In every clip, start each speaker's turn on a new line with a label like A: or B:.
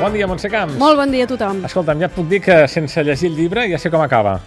A: Bon dia, Montse Camps.
B: Molt bon dia a tothom.
A: Escolta'm, ja et puc dir que sense llegir el llibre ja sé com acaba.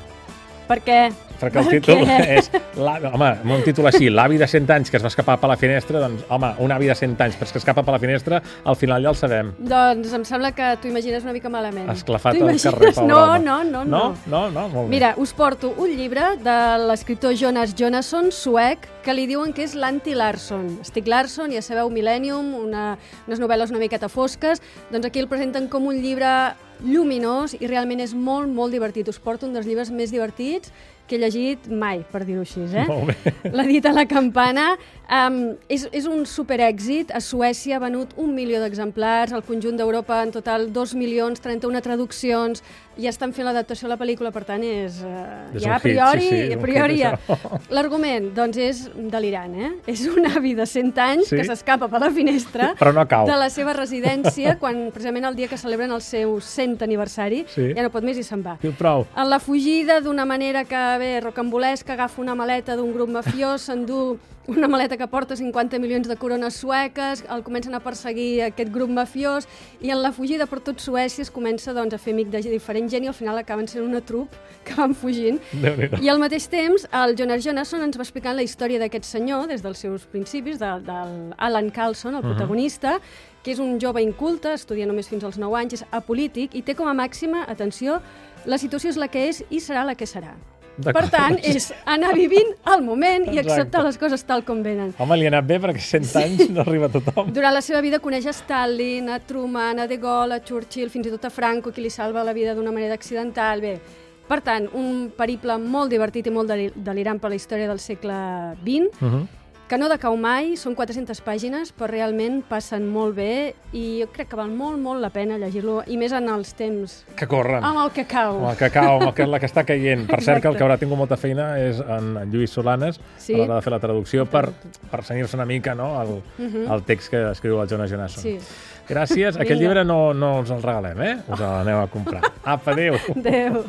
B: Per què?
A: Perquè el
B: Per
A: títol
B: què?
A: és... l'avi- Home, amb un títol així, l'avi de 100 anys que es va escapar per la finestra, doncs, home, un avi de 100 anys però és que escapa per la finestra, al final ja el sabem.
B: Doncs em sembla que t'ho imagines una mica malament.
A: Esclafat
B: T'ho
A: al
B: imagines?
A: carrer, pobre
B: No,
A: home.
B: no, no, no.
A: No? No, no, molt bé.
B: Mira, us porto un llibre de l'escriptor Jonas Jonasson, suec, que li diuen que és l'anti-Larson. Stig Larsson, ja sabeu, Millennium, una, unes novel·les una miqueta fosques, doncs aquí el presenten com un llibre lluminós i realment és molt, molt divertit. Us porto un dels llibres més divertits que he llegit mai, per dir-ho així, eh?
A: Molt bé.
B: La dita a la campana um, és, és un superèxit. A Suècia ha venut un milió d'exemplars, al conjunt d'Europa en total 2 milions, 31 traduccions, ja estan fent l'adaptació a la pel·lícula, per tant és... Uh,
A: És
B: ja
A: un
B: a priori,
A: hit, sí, sí, és
B: a
A: un
B: priori
A: hit,
B: ja.
A: això.
B: L'argument, doncs, és delirant, eh? És un avi de 100 anys
A: Sí.
B: que s'escapa per la finestra
A: Però no cau.
B: de la seva residència quan precisament el dia que celebren el seu 100 aniversari
A: Sí.
B: ja no pot més i se'n va.
A: Diu prou.
B: En la fugida, d'una manera que, bé, rocambolesca, agafa una maleta d'un grup mafiós, s'endú una maleta que porta 50 milions de corones sueques, el comencen a perseguir aquest grup mafiós, i en la fugida per tot Suècia es comença doncs, a fer amic de diferent gent i al final acaben sent una trup que van fugint.
A: Déu-n'hi-do.
B: I al mateix temps, el Jonas Jonasson ens va explicant la història d'aquest senyor des dels seus principis, de, del Alan Carlson, el
A: Mhm.
B: protagonista, que és un jove inculte, estudia només fins als 9 anys, és apolític i té com a màxima, atenció, la situació és la que és i serà la que serà. Per
A: D'acord.
B: tant, és anar vivint el moment i
A: Exacte.
B: acceptar les coses tal com venen.
A: Home, li ha anat bé perquè 100 anys no arriba a tothom.
B: Durant la seva vida coneix a Stalin, a Truman, a De Gaulle, a Churchill, fins i tot a Franco, qui li salva la vida d'una manera accidental. Bé, per tant, un periple molt divertit i molt deli- delirant per la història del segle XX,
A: Uh -huh.
B: que no decau mai, són 400 pàgines, però realment passen molt bé i jo crec que val molt, molt la pena llegir-lo, i més en els temps
A: Que corren.
B: amb el que cau.
A: Amb el cacau, amb el que, la que està caient. Per cert, que el
B: Exacte.
A: que haurà tingut molta feina és en, en Lluís Solanes
B: Sí.
A: a l'hora de fer la traducció per, per senyir-se una mica no, el, el text que escriu el Jonas Jonasson.
B: Mhm. Sí.
A: Gràcies. Aquest
B: Vinga.
A: llibre no, no us el regalem, eh? Us l'aneu a comprar. Apa, adéu.
B: Adéu.